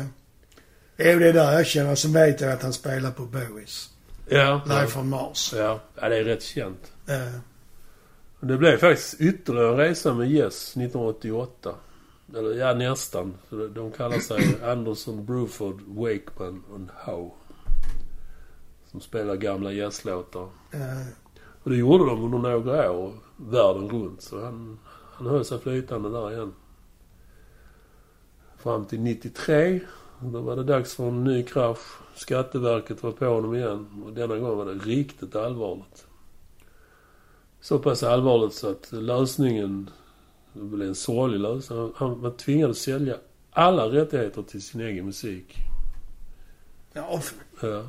det Eh, är där jag känner. Som vet jag att han spelar på Bowies.
Ja,
Live från Mars. Eh,
ja, ja, det är rätt känt.
Ja.
Och Det blev faktiskt ytterligare en resa med Yes 1988. Eller ja, nästan. För de- De kallar sig Anderson, Bruford, Wakeman och Howe. Som spelar gamla jazzlåtar.
Ja.
Och det gjorde de under några år världen runt. Så han, han höll sig flytande där igen. Fram till 93. Då var det dags för en ny krasch. Skatteverket var på honom igen. Och denna gång var det riktigt allvarligt. Så pass allvarligt så att lösningen det blev en sorglig lösning. Han, han var tvingad att sälja alla rättigheter till sin egen musik.
Ja, för-
Ja.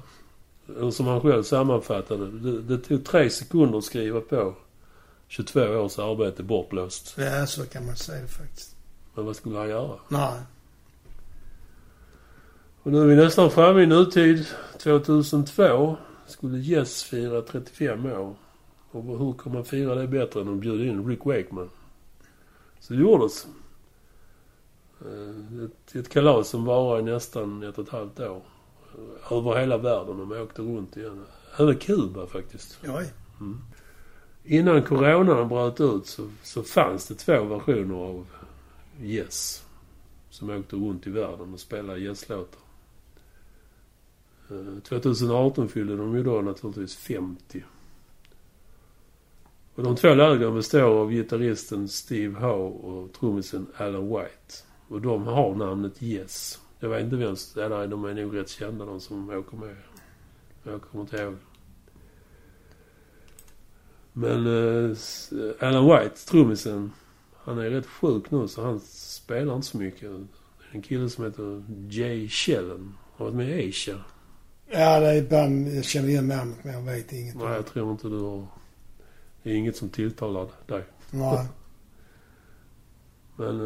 Och som han själv sammanfattade det. Det tog tre sekunder att skriva på. 22 års arbete bortblåst.
ja, så kan man säga det faktiskt.
Men vad skulle han göra?
Nej.
Och nu är vi nästan framme i nutid. 2002 skulle Yes fira 35 år. Och hur kan man fira det bättre än att bjuda in Rick Wakeman? Så det gjordes. Eh, Ett, ett kalas som varade i nästan ett och ett halvt år. Över hela världen. De åkte runt igen. Över Kuba faktiskt.
Oj.
Innan coronan bröt ut så, så fanns det två versioner av Yes. Som åkte runt i världen och spelade Yes-låtar. Eh, 2018 fyllde de ju då naturligtvis 50. Och de två lägren består av gitarristen Steve Howe och trummisen Alan White. Och de har namnet Yes. Jag vet inte vem... ja, Nej, de är nog rätt kända de som åker med. Jag kommer inte ihåg. Men eh, s- Alan White, trummisen, han är rätt sjuk nu så han spelar inte så mycket. En kille som heter Jay Shellen. Har varit med i Asia.
Ja, det är ett band. Jag känner igen namnet men jag vet inget.
Nej, jag tror inte du har... Det är inget som tilltalar dig.
Nej.
Men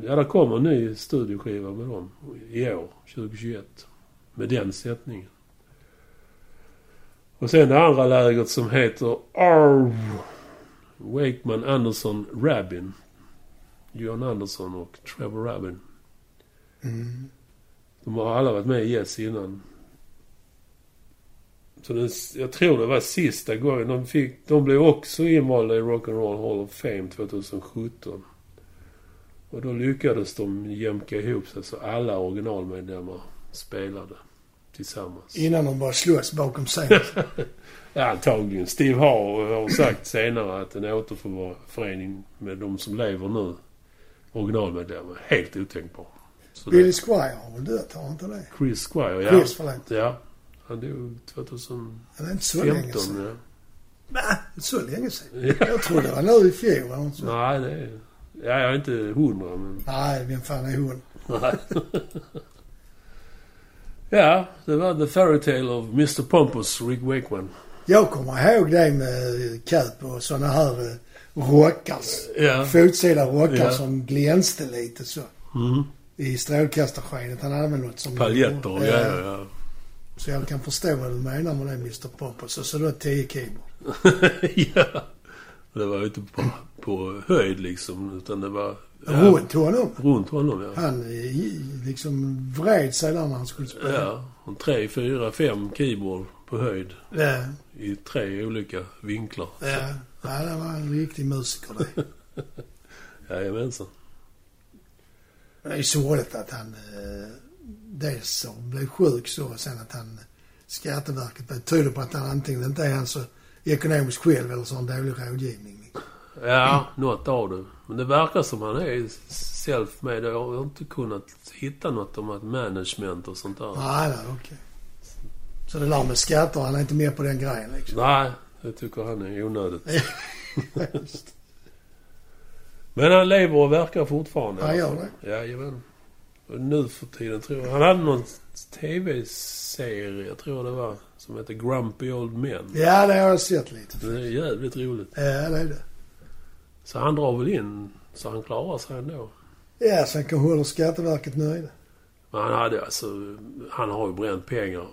eh, ja, det kommer en ny studioskiva med dem i år, 2021. Med den sättningen. Och sen det andra lägret som heter Arv. Wakeman, Anderson, Rabin. John Anderson och Trevor Rabin.
Mm.
De har alla varit med i Yes innan. Så den, jag tror det var sista gången. De, fick, de blev också invalda i Rock'n'Roll Hall of Fame 2017. Och då lyckades de jämka ihop sig så alla originalmedlemmar spelade tillsammans.
Innan de bara slåss bakom scenen.
Ja, antagligen. Steve Howe har sagt senare att en återförening med de som lever nu, originalmedlemmar, är helt otänkbar. Så
Billy
det,
Squire har väl dött, har han inte det?
Chris Squire, ja.
Chris, förlåt.
Ja. Han dog 2015.
Ja, Det är inte så länge sedan.
ja.
Va? Så länge sedan?
Ja.
Jag trodde det var nu i fjol eller något sånt.
Nej, det är... Ja, jag är inte hundra, men...
Nej, vem fan är hon?
Nej. Ja, det var The Fairy Tale of Mr Pompous, Rick Wakeman.
Jag kommer ihåg det med cap och såna här eh, rockar.
Ja.
Fotsida rockar
Ja.
som glänste lite så.
Mm.
I strålkastarskenet. Han använde något som...
Paljetter och
Ja,
grejer, ja.
Så jag kan förstå vad du menar med det Mr Pompous. Och så då 10 kilo.
ja. Det var ju inte på, på höjd liksom, utan det var... ja,
Runt honom.
Runt honom, ja.
Han eh, liksom vred sig där när han skulle spela.
Ja, en tre, fyra, fem keyboard på höjd
Ja,
i tre olika vinklar.
ja. ja det var en riktig musiker det.
Jajamensan.
Men det är ju sorgligt att han eh, dels så blev sjuk så och sen att han Skatteverket det tyder på att han antingen inte är han så ekonomisk själv eller så har han dålig rådgivning.
Ja, något av det. Men det verkar som han är self-made. Jag har inte kunnat hitta något om att management och sånt där.
Nej, nej, okej. Så det där med skatter, han är inte med på den grejen liksom.
Nej, jag tycker han är onödigt. Men han lever och verkar fortfarande.
Han gör det.
Jajamän. Och nu för tiden tror jag... Han hade någon TV-serie, jag tror det var, som hette Grumpy Old Men.
Ja, det har jag sett lite.
Det är jävligt roligt.
Ja, det är det.
Så han drar väl in så han klarar sig ändå.
Ja, sen kan håller Skatteverket nöjda.
Men han hade alltså... Han har ju bränt pengar.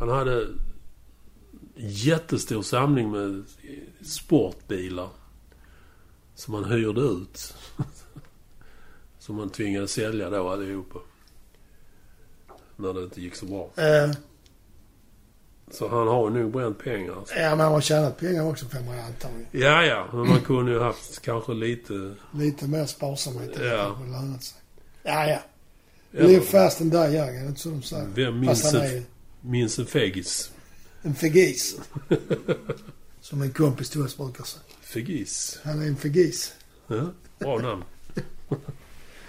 Han hade jättestor samling med sportbilar. Som han hyrde ut. Som han tvingades sälja då allihopa. När det inte gick så bra.
Eh,
Så han har nog bränt pengar. alltså.
Ja, men han har tjänat pengar också får man antagligen.
Ja, ja. Men man kunde ju haft kanske lite...
Lite mer sparsamhet än
Ja.
det kanske lönat sig. Ja, ja. Live
Ja,
fast and die young, är det inte så de säger?
Vem
Fast
minns
han
ett-
är
minns en fegis.
en fegis. som en kompis till oss brukar säga.
Fegis.
Han är en fegis.
Ja, bra namn.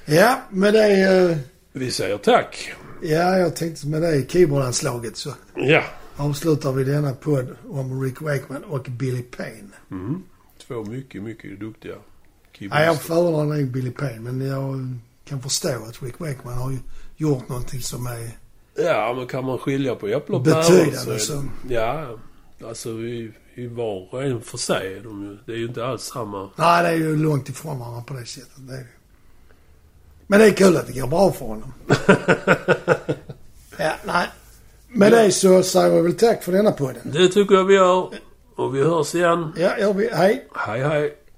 Ja, med det... eh,
Vi säger tack.
Ja, jag tänkte med det keyboardanslaget så
Ja.
avslutar vi denna podd om Rick Wakeman och Billy Payne.
Mm. Två mycket, mycket duktiga
Ja, jag
keyboardister.
föredrar nog Billy Payne, men jag kan förstå att Rick Wakeman har ju gjort någonting som är...
Ja, men kan man skilja på äpple och
Betydande
så är det-
som-
Ja, alltså i, i var och en för sig. är De, ju- det är ju inte alls samma.
Nej, det är ju långt ifrån varandra på det sättet. Det är... det ju. Men det är kul att det går bra för honom. ja, nej. Med det så säger vi väl tack för denna podden.
Det tycker jag vi gör. Och vi hörs igen.
Ja, jag vill, hej.
Hej, hej.